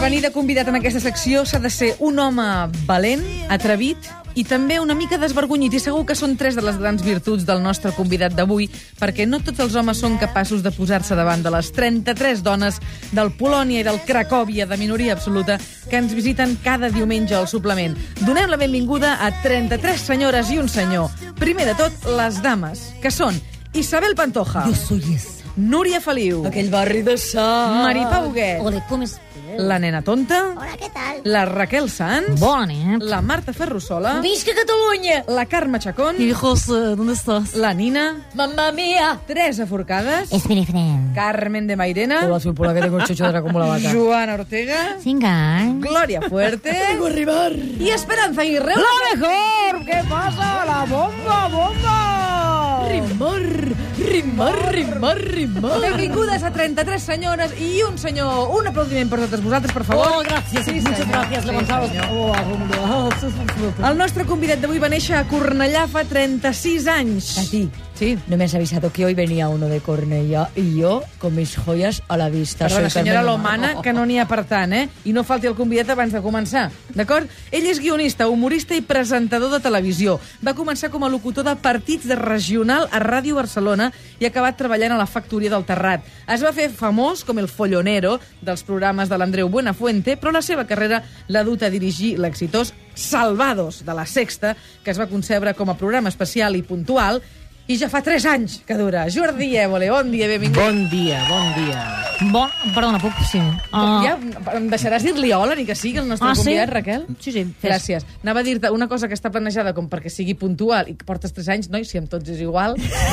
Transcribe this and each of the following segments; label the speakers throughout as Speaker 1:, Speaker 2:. Speaker 1: venir de convidat en aquesta secció s'ha de ser un home valent, atrevit i també una mica desvergonyit. I segur que són tres de les grans virtuts del nostre convidat d'avui, perquè no tots els homes són capaços de posar-se davant de les 33 dones del Polònia i del Cracòvia de minoria absoluta que ens visiten cada diumenge al suplement. Donem la benvinguda a 33 senyores i un senyor. Primer de tot, les dames, que són Isabel Pantoja,
Speaker 2: soy esa.
Speaker 1: Núria Feliu,
Speaker 2: Aquell barri de sa.
Speaker 1: Maripà Huguet,
Speaker 3: O de com es...
Speaker 1: la nena tonta,
Speaker 3: Hola, què tal?
Speaker 1: la Raquel Sanz,
Speaker 3: Bona nit.
Speaker 1: la Marta Ferrusola,
Speaker 2: Visca Catalunya!
Speaker 1: la Carme Chacón,
Speaker 2: Hijos, ¿dónde estás?
Speaker 1: la Nina,
Speaker 2: Mamma mia!
Speaker 1: Teresa Forcades,
Speaker 3: És mi diferent.
Speaker 1: Carmen de Mairena,
Speaker 2: Población por la que tengo el chocho de la como la vaca.
Speaker 1: Joana Ortega,
Speaker 3: Cinc anys.
Speaker 1: Gloria Fuerte
Speaker 2: arribar!
Speaker 1: y Esperanza Aguirre.
Speaker 2: ¡La mejor! ¿Qué pasa? ¡La bomba, bomba! Rimar, rimar, rimar, rimar.
Speaker 1: Benvingudes a 33 senyores i un senyor. Un aplaudiment per totes vosaltres, per favor.
Speaker 2: Oh, gracias,
Speaker 1: Sí,
Speaker 2: muchas
Speaker 1: senyor.
Speaker 2: gracias,
Speaker 1: Sí,
Speaker 2: Gonzalo.
Speaker 1: senyor.
Speaker 2: Oh, bomba.
Speaker 1: El nostre convidat d'avui va néixer a Cornellà fa 36 anys.
Speaker 2: A ti.
Speaker 1: Sí.
Speaker 2: No me has avisado que hoy venía uno de Cornellá y yo con mis joyas a la vista.
Speaker 1: Perdona,
Speaker 2: Soy
Speaker 1: senyora
Speaker 2: Carmen
Speaker 1: Lomana, que no n'hi ha per tant, eh? I no falti el convidat abans de començar, d'acord? Ell és guionista, humorista i presentador de televisió. Va començar com a locutor de partits de regional a Ràdio Barcelona i ha acabat treballant a la factoria del Terrat. Es va fer famós com el follonero dels programes de l'Andreu Buenafuente, però la seva carrera l'ha dut a dirigir l'exitós Salvados, de la Sexta, que es va concebre com a programa especial i puntual, i ja fa 3 anys que dura. Jordi Évole, bon dia, benvingut.
Speaker 4: Bon dia, bon dia.
Speaker 3: Bon... Perdona, puc? Sí. Ah.
Speaker 1: Ja em deixaràs dir-li hola ni que sigui el nostre
Speaker 3: Ah, sí?
Speaker 1: convidat, Raquel?
Speaker 3: Sí, sí, fes.
Speaker 1: Gràcies. Anava a dir-te una cosa que està planejada com perquè sigui puntual i que portes 3 anys, noi, si amb tots és igual.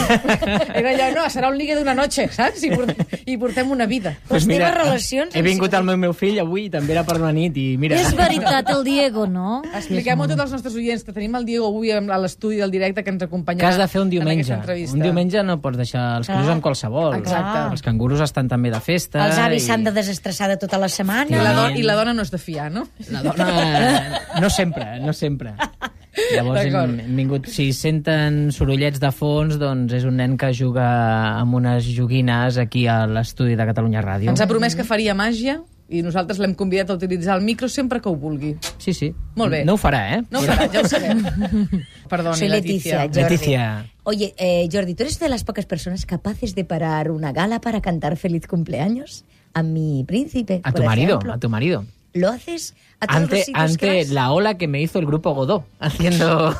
Speaker 1: Era allò, no, serà un ligue d'una noche, saps? I portem, i portem una vida.
Speaker 4: Pues
Speaker 3: teves relacions
Speaker 4: He
Speaker 3: amb
Speaker 4: vingut al meu, meu fill avui i també era per una nit i mira...
Speaker 3: És veritat, el Diego, no?
Speaker 1: Expliquem-ho a tots els nostres oients, que tenim el Diego avui a l'estudi del directe que ens
Speaker 4: Que
Speaker 1: acompanyarà
Speaker 4: has de fer un
Speaker 1: en
Speaker 4: diumenge.
Speaker 1: aquesta entrevista. Ah,
Speaker 4: Un diumenge no pots deixar els cangurs amb qualsevol.
Speaker 1: Exacte.
Speaker 4: Els cangurus estan també de festa.
Speaker 5: Els avis
Speaker 4: i-
Speaker 5: s'han de desestressar de tota la setmana.
Speaker 1: I la, dona,
Speaker 4: Efectivament.
Speaker 1: I la dona no és de fiar, no?
Speaker 4: La dona... No sempre, no sempre. Llavors
Speaker 1: D'acord.
Speaker 4: hem, hem vingut... Si senten sorollets de fons, doncs és un nen que juga amb unes joguines aquí a l'estudi de Catalunya Ràdio.
Speaker 1: Ens ha promès que faria màgia i nosaltres l'hem convidat a utilitzar el micro sempre que ho vulgui.
Speaker 4: Sí, sí.
Speaker 1: Molt bé.
Speaker 4: No ho farà, eh?
Speaker 1: No ho farà, ja ho sabem. Perdoni,
Speaker 5: Soy Leticia,
Speaker 1: Leticia.
Speaker 5: Jordi.
Speaker 4: Leticia.
Speaker 5: Oye, eh, Jordi, ¿tú eres de las pocas personas capaces de parar una gala para cantar feliz cumpleaños a mi príncipe?
Speaker 4: A
Speaker 5: por
Speaker 4: tu marido,
Speaker 5: ejemplo?
Speaker 4: a tu marido.
Speaker 5: ¿Lo haces a todos los
Speaker 4: ante,
Speaker 5: sitios que
Speaker 4: ante
Speaker 5: vas?
Speaker 4: la ola que me hizo el grupo Godó haciendo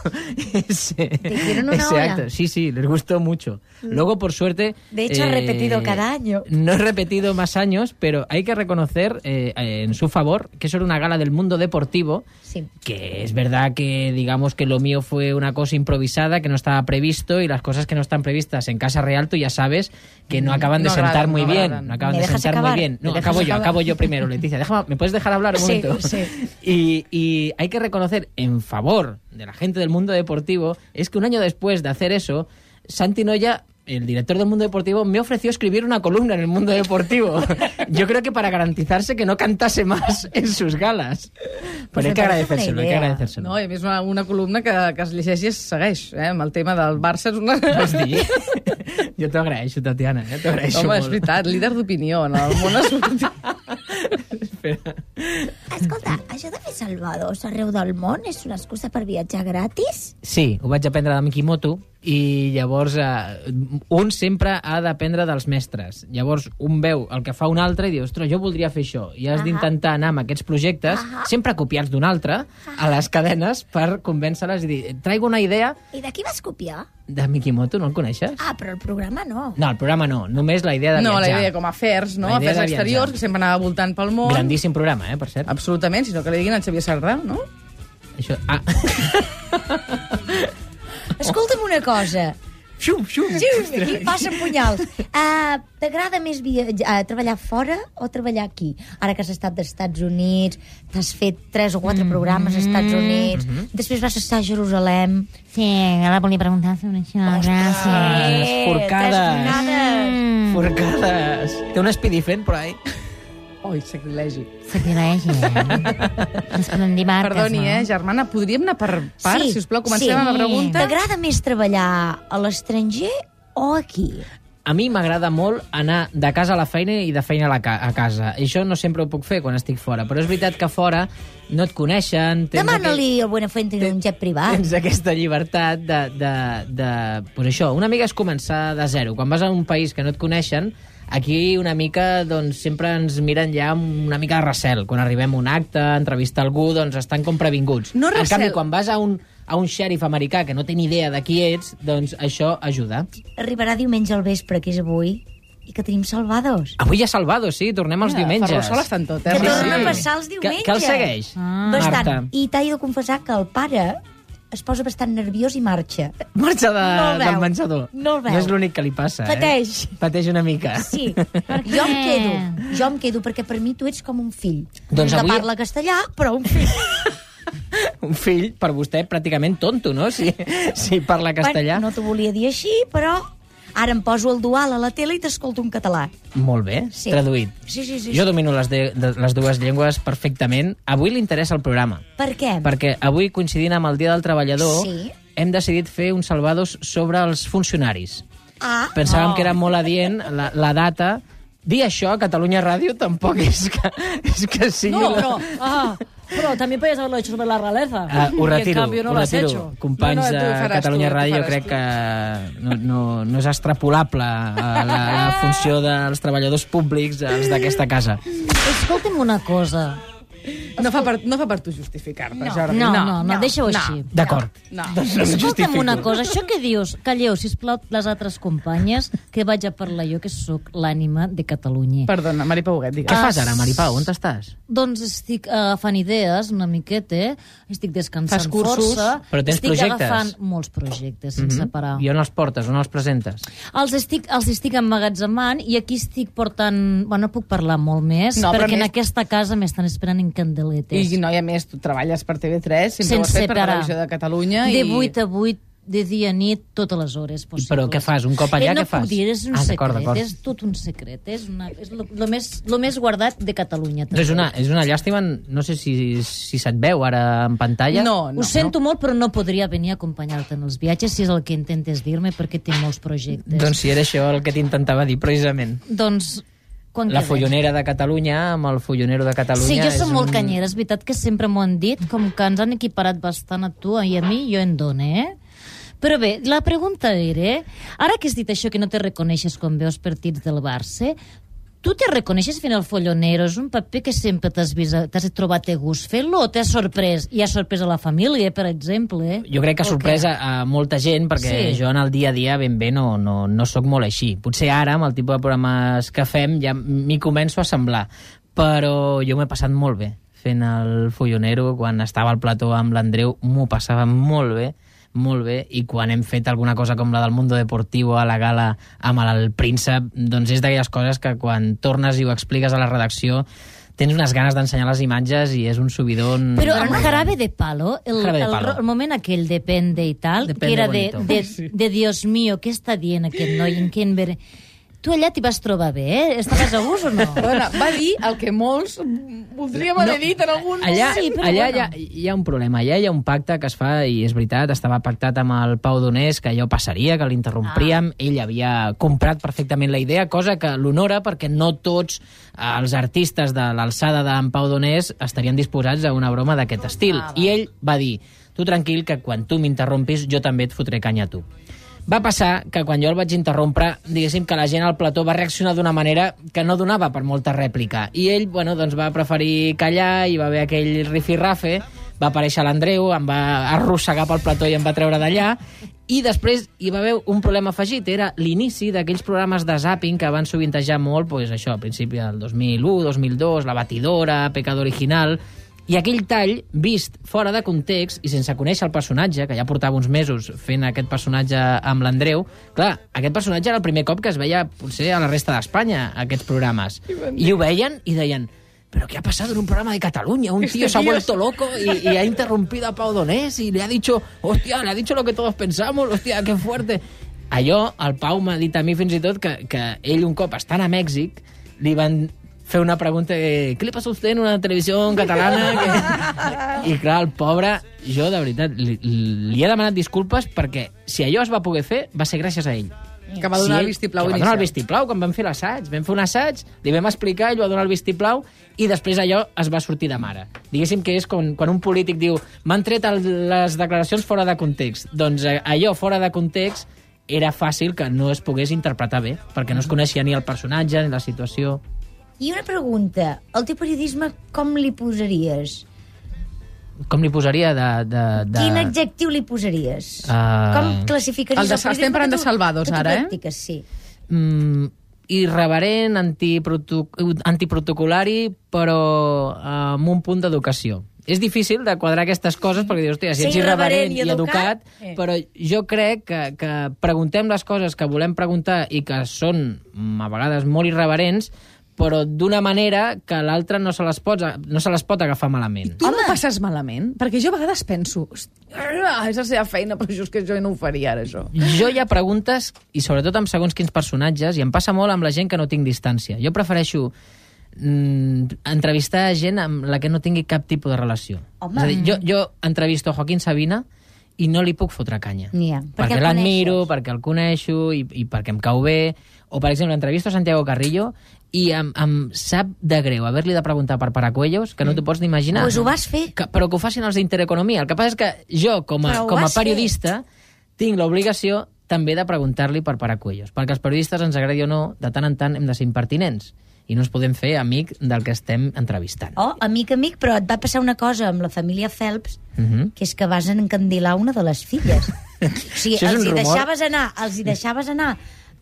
Speaker 4: ese,
Speaker 5: hicieron una
Speaker 4: ese
Speaker 5: ola? Mm.
Speaker 4: acto. Sí, sí, les gustó mucho. Luego, por suerte... eh,
Speaker 5: De hecho, ha repetido cada año.
Speaker 4: No he repetido más años, pero hay que reconocer eh, en su favor que eso era una gala del mundo deportivo
Speaker 5: Sí.
Speaker 4: que es verdad que digamos que lo mío fue una cosa improvisada que no estaba previsto y las cosas que no están previstas en Casa Real tú ya sabes que no acaban
Speaker 1: Mm, no
Speaker 4: de sentar
Speaker 1: agradan,
Speaker 4: muy
Speaker 1: no
Speaker 4: bien,
Speaker 1: agradan.
Speaker 4: no acaban
Speaker 5: ¿Me
Speaker 4: de
Speaker 5: dejas
Speaker 4: sentar muy
Speaker 5: acabar?
Speaker 4: bien. No,
Speaker 5: ¿Me dejas
Speaker 4: acabo yo,
Speaker 5: acabar?
Speaker 4: acabo yo primero, Leticia. Déjame, ¿me puedes dejar hablar un
Speaker 5: Sí,
Speaker 4: momento?
Speaker 5: sí.
Speaker 4: Y, y hay que reconocer en favor de la gente del mundo deportivo es que un año después de hacer eso, Santi Noya el director del mundo deportivo me ofreció escribir una columna en el mundo deportivo. Yo creo que para garantizarse que no cantase más en sus galas.
Speaker 5: Pues
Speaker 4: Pero hay
Speaker 5: me
Speaker 4: que
Speaker 5: parece una
Speaker 4: agradecérselo, hay que
Speaker 5: idea.
Speaker 4: agradecérselo.
Speaker 1: No, i a més una, una columna que, que es llegeix i es segueix, eh? amb el tema del Barça. És una...
Speaker 4: Vas dir? Jo t'ho agraeixo, Tatiana, eh? t'ho agraeixo
Speaker 1: Home, és
Speaker 4: molt.
Speaker 1: veritat, líder d'opinió en el món esportiu.
Speaker 4: Espera.
Speaker 6: Escolta, això de fer salvadors arreu del món és una excusa per viatjar gratis?
Speaker 4: Sí, ho vaig aprendre de Mikimoto i llavors eh, un sempre ha d'aprendre dels mestres. Llavors un veu el que fa un altre i diu, ostres, jo voldria fer això. I has d'intentar anar amb aquests projectes, sempre copiats d'un altre, a les cadenes per convèncer-les i dir, traigo una idea
Speaker 6: I de qui vas copiar?
Speaker 4: de Mikimoto, no el coneixes?
Speaker 6: Ah, però el programa no.
Speaker 4: No, el programa no, només la idea de
Speaker 1: No, la
Speaker 4: viatjar.
Speaker 1: idea com afers, no?
Speaker 4: La idea
Speaker 1: Afers
Speaker 4: de viatjar.
Speaker 1: exteriors, que sempre anava voltant pel món.
Speaker 4: Grandíssim programa, eh, per cert.
Speaker 1: Absolutament, sinó que li diguin al Xavier Sardà, no?
Speaker 4: Això... Ah.
Speaker 5: Escolta'm una cosa.
Speaker 4: Xum, xum.
Speaker 5: Sí, aquí passen punyals. Ah,
Speaker 6: Uh, T'agrada més viatjar, treballar fora o treballar aquí?
Speaker 5: Ara que has estat dels Estats Units, t'has fet tres o quatre programes als Estats Units, després vas estar a Jerusalem...
Speaker 3: Sí, ara volia preguntar sobre això. Gràcies.
Speaker 4: Las forcadas.
Speaker 5: tres onades.
Speaker 3: Mm,
Speaker 4: Forcadas. Té un espidifent, però, eh?
Speaker 1: Oi, sacrilegi.
Speaker 3: sacrilegi. Desprendir barques,
Speaker 1: Perdoni,
Speaker 3: no?
Speaker 1: eh, germana, podríem anar per part,
Speaker 5: Sí,
Speaker 1: si us plau? Comencem
Speaker 5: sí.
Speaker 1: amb la pregunta.
Speaker 5: T'agrada més treballar a l'estranger o aquí?
Speaker 4: a mi m'agrada molt anar de casa a la feina i de feina a, la ca a casa. I això no sempre ho puc fer quan estic fora, però és veritat que fora no et coneixen... tens aquell-
Speaker 6: Demana-li a Buenafuente un jet
Speaker 1: Ah.
Speaker 6: privat.
Speaker 4: Tens aquesta llibertat de... de, de pues això, una mica és començar de zero. Quan vas a un país que no et coneixen, aquí una mica doncs, sempre ens miren ja amb una mica de recel. Quan arribem a un acte, a entrevistar algú, doncs estan com previnguts.
Speaker 1: No
Speaker 4: en
Speaker 1: recel.
Speaker 4: canvi, quan vas a un, a un xèrif americà que no té ni idea de qui ets, doncs això ajuda.
Speaker 6: Arribarà diumenge al vespre, que és avui, i que tenim salvados.
Speaker 4: Avui ja Salvado, sí, tornem els diumenges.
Speaker 1: Ferrusola està en tot, eh?
Speaker 6: Que
Speaker 4: sí.
Speaker 6: torna a passar els
Speaker 4: Que,
Speaker 6: diumenges.
Speaker 4: que el segueix,
Speaker 3: Ah.
Speaker 6: Bastant.
Speaker 4: Marta.
Speaker 6: I t'haig de confessar que el pare es posa bastant nerviós i marxa.
Speaker 4: Marxa de,
Speaker 6: No el veu.
Speaker 4: del menjador.
Speaker 6: No el veu.
Speaker 4: No és l'únic que li passa,
Speaker 6: Pateix.
Speaker 4: eh? Pateix una mica.
Speaker 6: Sí,
Speaker 3: què?
Speaker 6: jo em quedo, jo em quedo, perquè per mi tu ets com un fill.
Speaker 4: Doncs
Speaker 6: que
Speaker 4: avui-
Speaker 6: parla castellà, però un fill.
Speaker 4: un fill per vostè pràcticament tonto, no? Si, si parla castellà.
Speaker 6: Bueno, no t'ho volia dir així, però ara em poso el dual a la tele i t'escolto en català.
Speaker 4: Molt bé,
Speaker 6: Sí.
Speaker 4: traduït.
Speaker 6: Sí, sí, sí.
Speaker 4: Jo domino les, de, de, les dues llengües perfectament. Avui li interessa el programa,
Speaker 6: Per què?
Speaker 4: perquè avui, coincidint amb el Dia del Treballador,
Speaker 6: Sí.
Speaker 4: hem decidit fer uns salvados sobre els funcionaris.
Speaker 6: Ah,
Speaker 4: Pensàvem que era molt adient la, la data... Dir això a Catalunya Ràdio tampoc és que, és que sigui...
Speaker 2: No,
Speaker 4: la-
Speaker 2: pero, ah, pero también podías haberlo hecho sobre la realeza.
Speaker 4: Ah,
Speaker 2: que
Speaker 4: ho
Speaker 2: en
Speaker 4: retiro,
Speaker 2: cambio no
Speaker 4: ho
Speaker 2: lo has
Speaker 4: retiro.
Speaker 2: hecho.
Speaker 4: Companys
Speaker 1: No, no, tu ho
Speaker 4: de
Speaker 1: faràs
Speaker 4: Catalunya
Speaker 1: tu, tu
Speaker 4: Ràdio,
Speaker 1: faràs
Speaker 4: crec
Speaker 1: tu.
Speaker 4: que no, no, no és extrapolable a la, la funció dels treballadors públics, els d'aquesta casa.
Speaker 3: Escolta'm una cosa.
Speaker 1: No fa per, no fa per tu justificar-te, no, Jordi.
Speaker 3: No, no, no, deixa-ho així.
Speaker 4: D'acord.
Speaker 1: No.
Speaker 4: Doncs no
Speaker 3: Escolta'm
Speaker 4: justifico.
Speaker 3: una cosa, això que dius, calleu, sisplau, les altres companyes, que vaig a parlar jo, que sóc l'ànima de Catalunya.
Speaker 1: Perdona, Mari Pauguet, digues.
Speaker 3: Ah.
Speaker 4: Què fas ara, Maripau? On estàs?
Speaker 3: Doncs estic eh, agafant idees una miqueta, eh? estic descansant
Speaker 1: Fas cursos,
Speaker 3: força,
Speaker 4: però tens
Speaker 3: estic
Speaker 4: projectes. Mhm.
Speaker 3: agafant molts projectes sense parar.
Speaker 4: I on els portes? On els presentes?
Speaker 3: Els estic, els estic emmagatzemant i aquí estic portant... Bueno, no puc parlar molt més,
Speaker 1: No,
Speaker 3: no,
Speaker 1: però
Speaker 3: perquè en
Speaker 1: més-
Speaker 3: aquesta casa m'estan esperant en candeletes.
Speaker 1: I, no, i a més, tu treballes per TV3, sempre ho has fet per la televisió de Catalunya.
Speaker 3: De
Speaker 1: i...
Speaker 3: 8 a 8, de dia a nit, totes les hores possibles.
Speaker 4: Però què fas? Un cop allà,
Speaker 3: eh, no
Speaker 4: què fas?
Speaker 3: puc dir, és un
Speaker 4: Ah,
Speaker 3: ah,
Speaker 4: d'acord,
Speaker 3: secret,
Speaker 4: d'acord.
Speaker 3: és tot un secret. És, una, és lo, lo, més, lo més guardat de Catalunya.
Speaker 4: No, és, Doncs una, és una llàstima, no sé si, si se't veu ara en pantalla.
Speaker 1: No,
Speaker 3: Ho
Speaker 1: no.
Speaker 3: sento molt, però no podria venir a acompanyar-te en els viatges, si és el que intentes dir-me, perquè tinc molts projectes.
Speaker 4: Doncs si era això el que t'intentava dir, precisament.
Speaker 3: doncs quan
Speaker 4: La
Speaker 3: quedem?
Speaker 4: follonera de Catalunya amb el follonero de Catalunya.
Speaker 3: Sí, jo
Speaker 4: és
Speaker 3: som molt
Speaker 4: un-
Speaker 3: canyera, és veritat que sempre m'ho han dit, com que ens han equiparat bastant a tu i a mi, jo en dono, eh? Però bé, la pregunta era, ara que has dit això que no te reconeixes quan veus partits del Barça, tu te reconeixes fent el follonero? És un paper que sempre t'has vist, t'has trobat a gust fent-lo o t'has sorprès? I ha sorprès a la família, per exemple. eh?
Speaker 4: Jo crec que ha sorprès a, a molta gent perquè
Speaker 3: Sí.
Speaker 4: jo en el dia a dia ben bé no, no, no sóc molt així. Potser ara, amb el tipus de programes que fem, ja m'hi començo a semblar. Però jo m'he passat molt bé fent el follonero. Quan estava al plató amb l'Andreu m'ho passava molt bé molt bé, i quan hem fet alguna cosa com la del Mundo Deportivo a la gala amb el príncep, doncs és d'aquelles coses que quan tornes i ho expliques a la redacció tens unes ganes d'ensenyar les imatges i és un subidon...
Speaker 3: Però en Jarabe de Palo, el,
Speaker 4: Jarabe de
Speaker 3: el,
Speaker 4: Palo.
Speaker 3: ro- el moment aquell de Pende i tal,
Speaker 4: Depende
Speaker 3: que era de,
Speaker 4: bonito.
Speaker 3: de, de Dios mío, què està dient aquest noi en Kenber? Tu allà t'hi vas trobar bé, eh? Estaves a gust o no?
Speaker 1: Perdona, va dir el que molts voldríem haver dit en algun
Speaker 4: Allà,
Speaker 1: moment.
Speaker 3: Sí, però
Speaker 4: allà
Speaker 3: bueno.
Speaker 4: hi, ha, hi ha un problema, allà hi ha un pacte que es fa, i és veritat, estava pactat amb el Pau Donés, que allò passaria, que l'interrompríem, ah. ell havia comprat perfectament la idea, cosa que l'honora perquè no tots eh, els artistes de l'alçada d'en Pau Donés estarien disposats a una broma d'aquest estil. Ah, I ell va dir, tu tranquil, que quan tu m'interrompis jo també et fotré canya a tu. Va passar que quan jo el vaig interrompre, diguéssim que la gent al plató va reaccionar d'una manera que no donava per molta rèplica. I ell, bueno, doncs va preferir callar, i va haver aquell rifirrafe, va aparèixer l'Andreu, em va arrossegar pel plató i em va treure d'allà, i després hi va haver un problema afegit, era l'inici d'aquells programes de zapping que van sovintejar molt, doncs això, a principi del 2001, 2002, La Batidora, Pecado Original, i aquell tall, vist fora de context i sense conèixer el personatge, que ja portava uns mesos fent aquest personatge amb l'Andreu, clar, aquest personatge era el primer cop que es veia potser a la resta d'Espanya, aquests programes. I ho veien i deien però què ha passat en un programa de Cataluña? Un tío se ha vuelto loco y, y ha interrumpido a Pau Donés y le ha dicho, hostia, le ha dicho lo que todos pensamos, hostia, qué fuerte. Allò, el Pau m'ha dit a mi fins i tot que, que ell un cop estant a Mèxic li van fer una pregunta de, què li passa a usted en una televisió catalana? Que... I clar, el pobre, jo de veritat, li, li he demanat disculpes perquè si allò es va poder fer va ser gràcies a ell.
Speaker 1: Que va donar el vistiplau
Speaker 4: que va donar
Speaker 1: inicial.
Speaker 4: el vistiplau quan vam fer l'assaig. Vam fer un assaig, li vam explicar, ell va donar el vistiplau i després allò es va sortir de mare. Diguéssim que és quan, quan un polític diu m'han tret el, les declaracions fora de context. Doncs eh, allò fora de context era fàcil que no es pogués interpretar bé, perquè no es coneixia ni el personatge ni la situació.
Speaker 5: I una pregunta, el teu periodisme com li posaries?
Speaker 4: Com li posaria de... de, de...
Speaker 5: Quin adjectiu li posaries?
Speaker 4: Ah.
Speaker 5: Com classificaries
Speaker 1: El de- estem
Speaker 5: periodisme
Speaker 1: parlant
Speaker 5: que
Speaker 1: de
Speaker 5: tu-
Speaker 1: Salvados,
Speaker 5: que tu
Speaker 1: ara, eh?
Speaker 5: practiques, sí.
Speaker 4: mm, irreverent, antiproto- antiprotocolari, però eh, amb un punt d'educació. És difícil de quadrar aquestes coses perquè dius, hòstia,
Speaker 5: Ser
Speaker 4: si ets irreverent
Speaker 5: irreverent i
Speaker 4: i educat,
Speaker 5: educat, eh.
Speaker 4: eh. però jo crec que, que preguntem les coses que volem preguntar i que són mm, a vegades molt irreverents, però d'una manera que l'altre no, se les pot, no se les pot agafar malament.
Speaker 1: Tu Home. no passes malament? Perquè jo a vegades penso... "Hòstia, És la seva feina, però just que jo no ho faria ara, això.
Speaker 4: Jo hi ha preguntes, i sobretot amb segons quins personatges, i em passa molt amb la gent que no tinc distància. Jo prefereixo mm, entrevistar gent amb la que no tingui cap tipus de relació. Home. És a dir, jo, jo entrevisto a Joaquín Sabina i no li puc fotre canya.
Speaker 5: Ja,
Speaker 4: perquè l'admiro, perquè el coneixo i, i perquè em cau bé. O, per exemple, entrevisto a Santiago Carrillo i em, em sap de greu haver-li de preguntar per Paracuellos, que no t'ho pots ni imaginar.
Speaker 5: Mm. Pues ho vas fer.
Speaker 4: Que, però que ho facin els d'Intereconomia. El que passa és que jo, com a,
Speaker 5: Però ho
Speaker 4: com a
Speaker 5: has fet.
Speaker 4: periodista, tinc l'obligació també de preguntar-li per Paracuellos, perquè els periodistes, ens agradi o no, de tant en tant hem de ser impertinents i no ens podem fer amic del que estem entrevistant.
Speaker 5: Oh, amic, amic, però et va passar una cosa amb la família Phelps,
Speaker 4: Mhm.
Speaker 5: que és que vas encandilar una de les filles. o sigui,
Speaker 4: Això és
Speaker 5: els
Speaker 4: un
Speaker 5: hi
Speaker 4: rumor.
Speaker 5: deixaves anar, els hi deixaves anar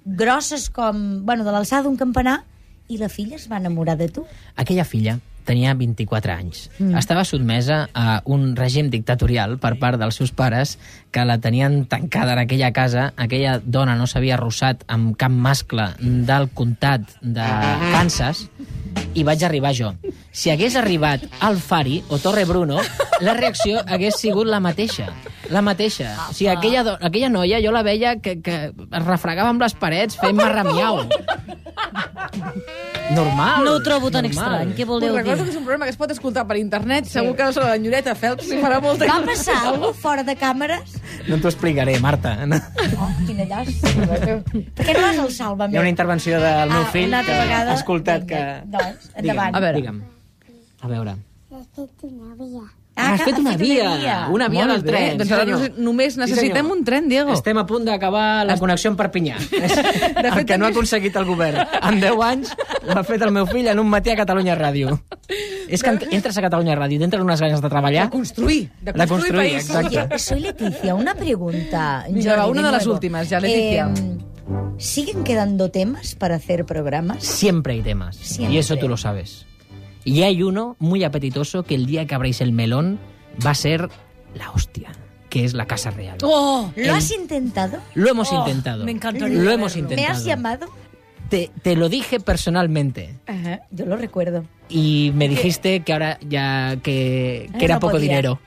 Speaker 5: grosses com, bueno, de l'alçada d'un campanar, i la filla es va enamorar de tu.
Speaker 4: Aquella filla tenia 24 anys. Mm. Estava sotmesa a un règim dictatorial per part dels seus pares que la tenien tancada en aquella casa. Aquella dona no s'havia arrossat amb cap mascle del comtat de Kansas i vaig arribar jo. Si hagués arribat al Fari o Torre Bruno, la reacció hagués sigut la mateixa. La mateixa. O sigui, aquella, do- aquella noia jo la veia que, que es refregava amb les parets fent marramiau. Normal.
Speaker 3: No ho trobo tan
Speaker 4: normal.
Speaker 3: estrany. Què
Speaker 1: Us
Speaker 3: voleu dir?
Speaker 1: recordo que és un programa que es pot escoltar per internet. Sí. Segur que la senyora Lloreta Phelps li farà molta...
Speaker 5: Va passar alguna cosa fora de càmeres?
Speaker 4: No t'ho explicaré, Marta. No.
Speaker 5: Oh, quina llàstima, tu. Per què no vas al Sálvame?
Speaker 4: Hi ha una intervenció del meu
Speaker 5: Ah,
Speaker 4: fill
Speaker 5: una altra
Speaker 4: que
Speaker 5: vegada.
Speaker 4: ha escoltat que...
Speaker 5: Vinga, doncs, endavant.
Speaker 4: Digue'm,
Speaker 1: A veure.
Speaker 4: Digue'm. A veure.
Speaker 6: Has fet una via.
Speaker 5: Ah,
Speaker 4: Has
Speaker 5: que
Speaker 4: fet una via. Una via
Speaker 1: Molt
Speaker 4: del
Speaker 1: bé.
Speaker 4: tren.
Speaker 1: Doncs
Speaker 4: sí,
Speaker 1: ara
Speaker 4: senyor.
Speaker 1: nos- només
Speaker 4: Sí,
Speaker 1: necessitem
Speaker 4: senyor.
Speaker 1: un tren, Diego.
Speaker 4: Estem a punt d'acabar la connexió amb Perpinyà. De el que no ha aconseguit el govern. En 10 anys l'ha fet el meu fill en un matí a Catalunya Ràdio. És que en- entres a Catalunya Ràdio i t'entren unes ganes de treballar.
Speaker 1: De construir. De
Speaker 4: De
Speaker 1: construir,
Speaker 4: construir,
Speaker 1: país.
Speaker 4: exacte.
Speaker 5: Oye, soy Leticia, una pregunta.
Speaker 1: Venga,
Speaker 5: Jordi,
Speaker 1: va, una de las
Speaker 5: nuevo.
Speaker 1: últimas, ya,
Speaker 4: Eh,
Speaker 1: Leticia.
Speaker 5: ¿Siguen quedando temas para hacer programas?
Speaker 4: Siempre hay temas.
Speaker 5: Siempre.
Speaker 4: Y eso tú lo sabes. Y hay uno muy apetitoso que el día que abráis el melón va a ser la hostia, que es la Casa Real.
Speaker 1: Oh!
Speaker 5: ¿Lo has intentado?
Speaker 4: Lo hemos
Speaker 5: Oh,
Speaker 4: intentado.
Speaker 3: me encantaría
Speaker 4: Lo hemos
Speaker 5: ¿Me
Speaker 4: intentado.
Speaker 5: has llamado?
Speaker 4: Te, te lo dije personalmente.
Speaker 5: Yo lo recuerdo.
Speaker 4: Y me dijiste que ahora ya que, que
Speaker 5: Eh,
Speaker 4: era
Speaker 5: no
Speaker 4: poco
Speaker 5: podía.
Speaker 4: dinero.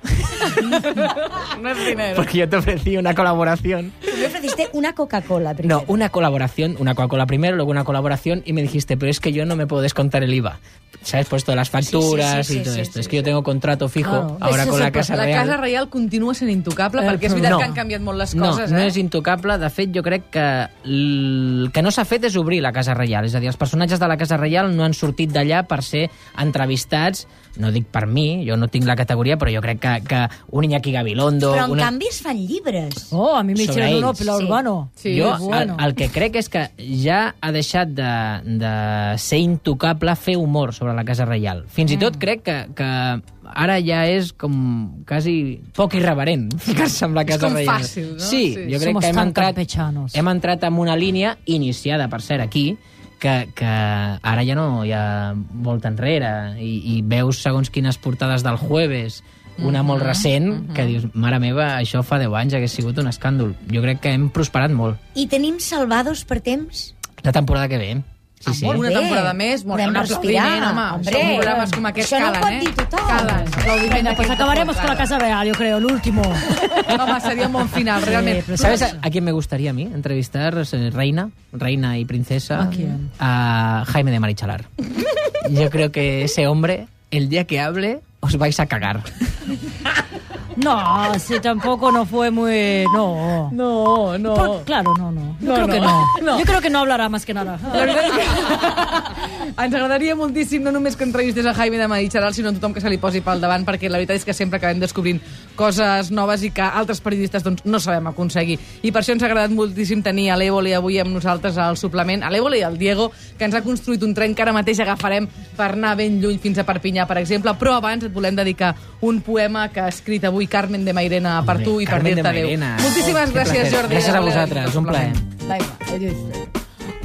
Speaker 1: No és dinero.
Speaker 4: Porque yo te ofrecí una colaboración.
Speaker 5: Tú me ofreciste una Coca-Cola primero.
Speaker 4: No, una colaboración, una Coca-Cola primero, luego una colaboración, y me dijiste, pero es que yo no me puedo descontar el IVA. ¿Sabes? Pues todas las facturas
Speaker 5: sí, sí,
Speaker 4: y todo
Speaker 5: sí,
Speaker 4: esto.
Speaker 5: sí,
Speaker 4: es que yo tengo contrato fijo
Speaker 5: Claro.
Speaker 4: ahora
Speaker 1: Això
Speaker 4: con la
Speaker 1: sempre-
Speaker 4: Casa
Speaker 1: la
Speaker 4: Real.
Speaker 1: Casa Reial continua sent intocable,
Speaker 4: Eh,
Speaker 1: perquè és veritat
Speaker 4: no.
Speaker 1: que han canviat molt les
Speaker 4: no,
Speaker 1: coses,
Speaker 4: no
Speaker 1: eh?
Speaker 4: és intocable. De fet, jo crec que el que no s'ha fet és obrir la Casa Reial. És a dir, els personatges de la Casa Reial no han sortit d'allà per ser entrevistats, no dic per mi, jo no tinc la categoria, però jo crec que, que un Iñaki Gabilondo...
Speaker 5: Pero en
Speaker 4: una...
Speaker 5: cambio es fan libres.
Speaker 2: Oh, a mi me
Speaker 4: Sobre
Speaker 2: hicieron uno,
Speaker 4: ells.
Speaker 2: pero
Speaker 5: Sí.
Speaker 2: urbano.
Speaker 1: Sí,
Speaker 4: jo
Speaker 1: és
Speaker 2: bueno.
Speaker 4: el, el que crec és que ja ha deixat de, de ser intocable fer humor sobre la Casa Reial. Fins
Speaker 1: Mm.
Speaker 4: i tot crec que, que ara ja és com quasi poc irreverent ficar-se amb la Casa
Speaker 1: com
Speaker 4: Reial.
Speaker 1: fàcil, no?
Speaker 4: Sí,
Speaker 1: Sí.
Speaker 4: jo crec
Speaker 2: Somos
Speaker 4: que hem
Speaker 2: tan
Speaker 4: entrat,
Speaker 2: campechanos.
Speaker 4: hem entrat en una línia iniciada, per cert, aquí, que, que ara ja no hi ha volta enrere i, i veus segons quines portades del jueves una molt recent, que dius, mare meva, això fa 10 anys hagués sigut un escàndol. Jo crec que hem prosperat molt.
Speaker 5: ¿Y tenim salvados per temps?
Speaker 4: La temporada que ve. eh? Sí, sí.
Speaker 1: Una
Speaker 5: bé.
Speaker 1: temporada més, molt
Speaker 5: Podem
Speaker 1: un aplaudiment,
Speaker 5: respirar,
Speaker 1: home.
Speaker 5: hombre.
Speaker 1: Això, programes com aquest
Speaker 5: Això no ho
Speaker 1: calen,
Speaker 5: pot
Speaker 1: eh?
Speaker 5: dir tothom.
Speaker 1: Calen. Aplaudiment
Speaker 2: Venga, pues
Speaker 1: d'aquest
Speaker 2: acabaremos
Speaker 1: tot,
Speaker 2: con la Casa Real, yo creo, el último.
Speaker 1: calen. Home, seria un bon final, realment.
Speaker 2: pero
Speaker 4: ¿Sabes a, a quién me gustaría a mí entrevistar? Es, eh, Reina, reina y princesa. ¿A
Speaker 2: quién?
Speaker 4: A Jaime de Marichalar. Yo creo que ese hombre, el día que hable, os vais a cagar.
Speaker 3: No, si tampoco no fue muy... No.
Speaker 1: No, no.
Speaker 3: Por- claro, no, no. Yo
Speaker 1: No,
Speaker 3: creo
Speaker 1: no.
Speaker 3: que no.
Speaker 1: No.
Speaker 3: Yo creo que no hablará más que nada.
Speaker 1: La veritat és que ens agradaria moltíssim no només que entrevistés a Jaime de Madí Charal, sinó a tothom que se li posi pel davant, perquè la veritat és que sempre acabem descobrint coses noves i que altres periodistes doncs, no sabem aconseguir. I per això ens ha agradat moltíssim tenir a l'Evoli avui amb nosaltres al suplement, a l'Evoli i al Diego, que ens ha construït un tren que ara mateix agafarem per anar ben lluny fins a Perpinyà, per exemple. Però abans et volem dedicar un poema que ha escrit avui Carmen de Mairena per tu i per
Speaker 4: Carmen de
Speaker 1: dir-te adéu.
Speaker 4: Mairena.
Speaker 1: Moltíssimes
Speaker 4: Oh, que
Speaker 1: gràcies,
Speaker 4: plaer.
Speaker 1: Jordi.
Speaker 4: Gràcies a
Speaker 1: Evoli,
Speaker 4: vosaltres, un plaer.
Speaker 5: Venga, ella dice,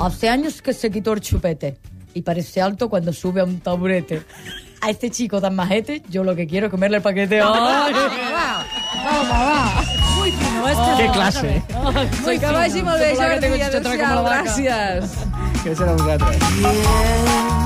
Speaker 5: Hace años que se quitó el chupete y parece alto cuando sube a un taburete. A este chico tan majete, yo lo que quiero es comerle el paquete.
Speaker 1: Oh,
Speaker 5: ¡Ay!
Speaker 4: Que classe.
Speaker 1: Ui, que vagi molt bé,
Speaker 5: Sembla
Speaker 1: Jordi.
Speaker 5: que tinc un xutxetre com la
Speaker 1: Adéu-siau,
Speaker 5: vaca.
Speaker 1: gràcies.
Speaker 4: Gràcies a vosaltres.
Speaker 7: Yeah.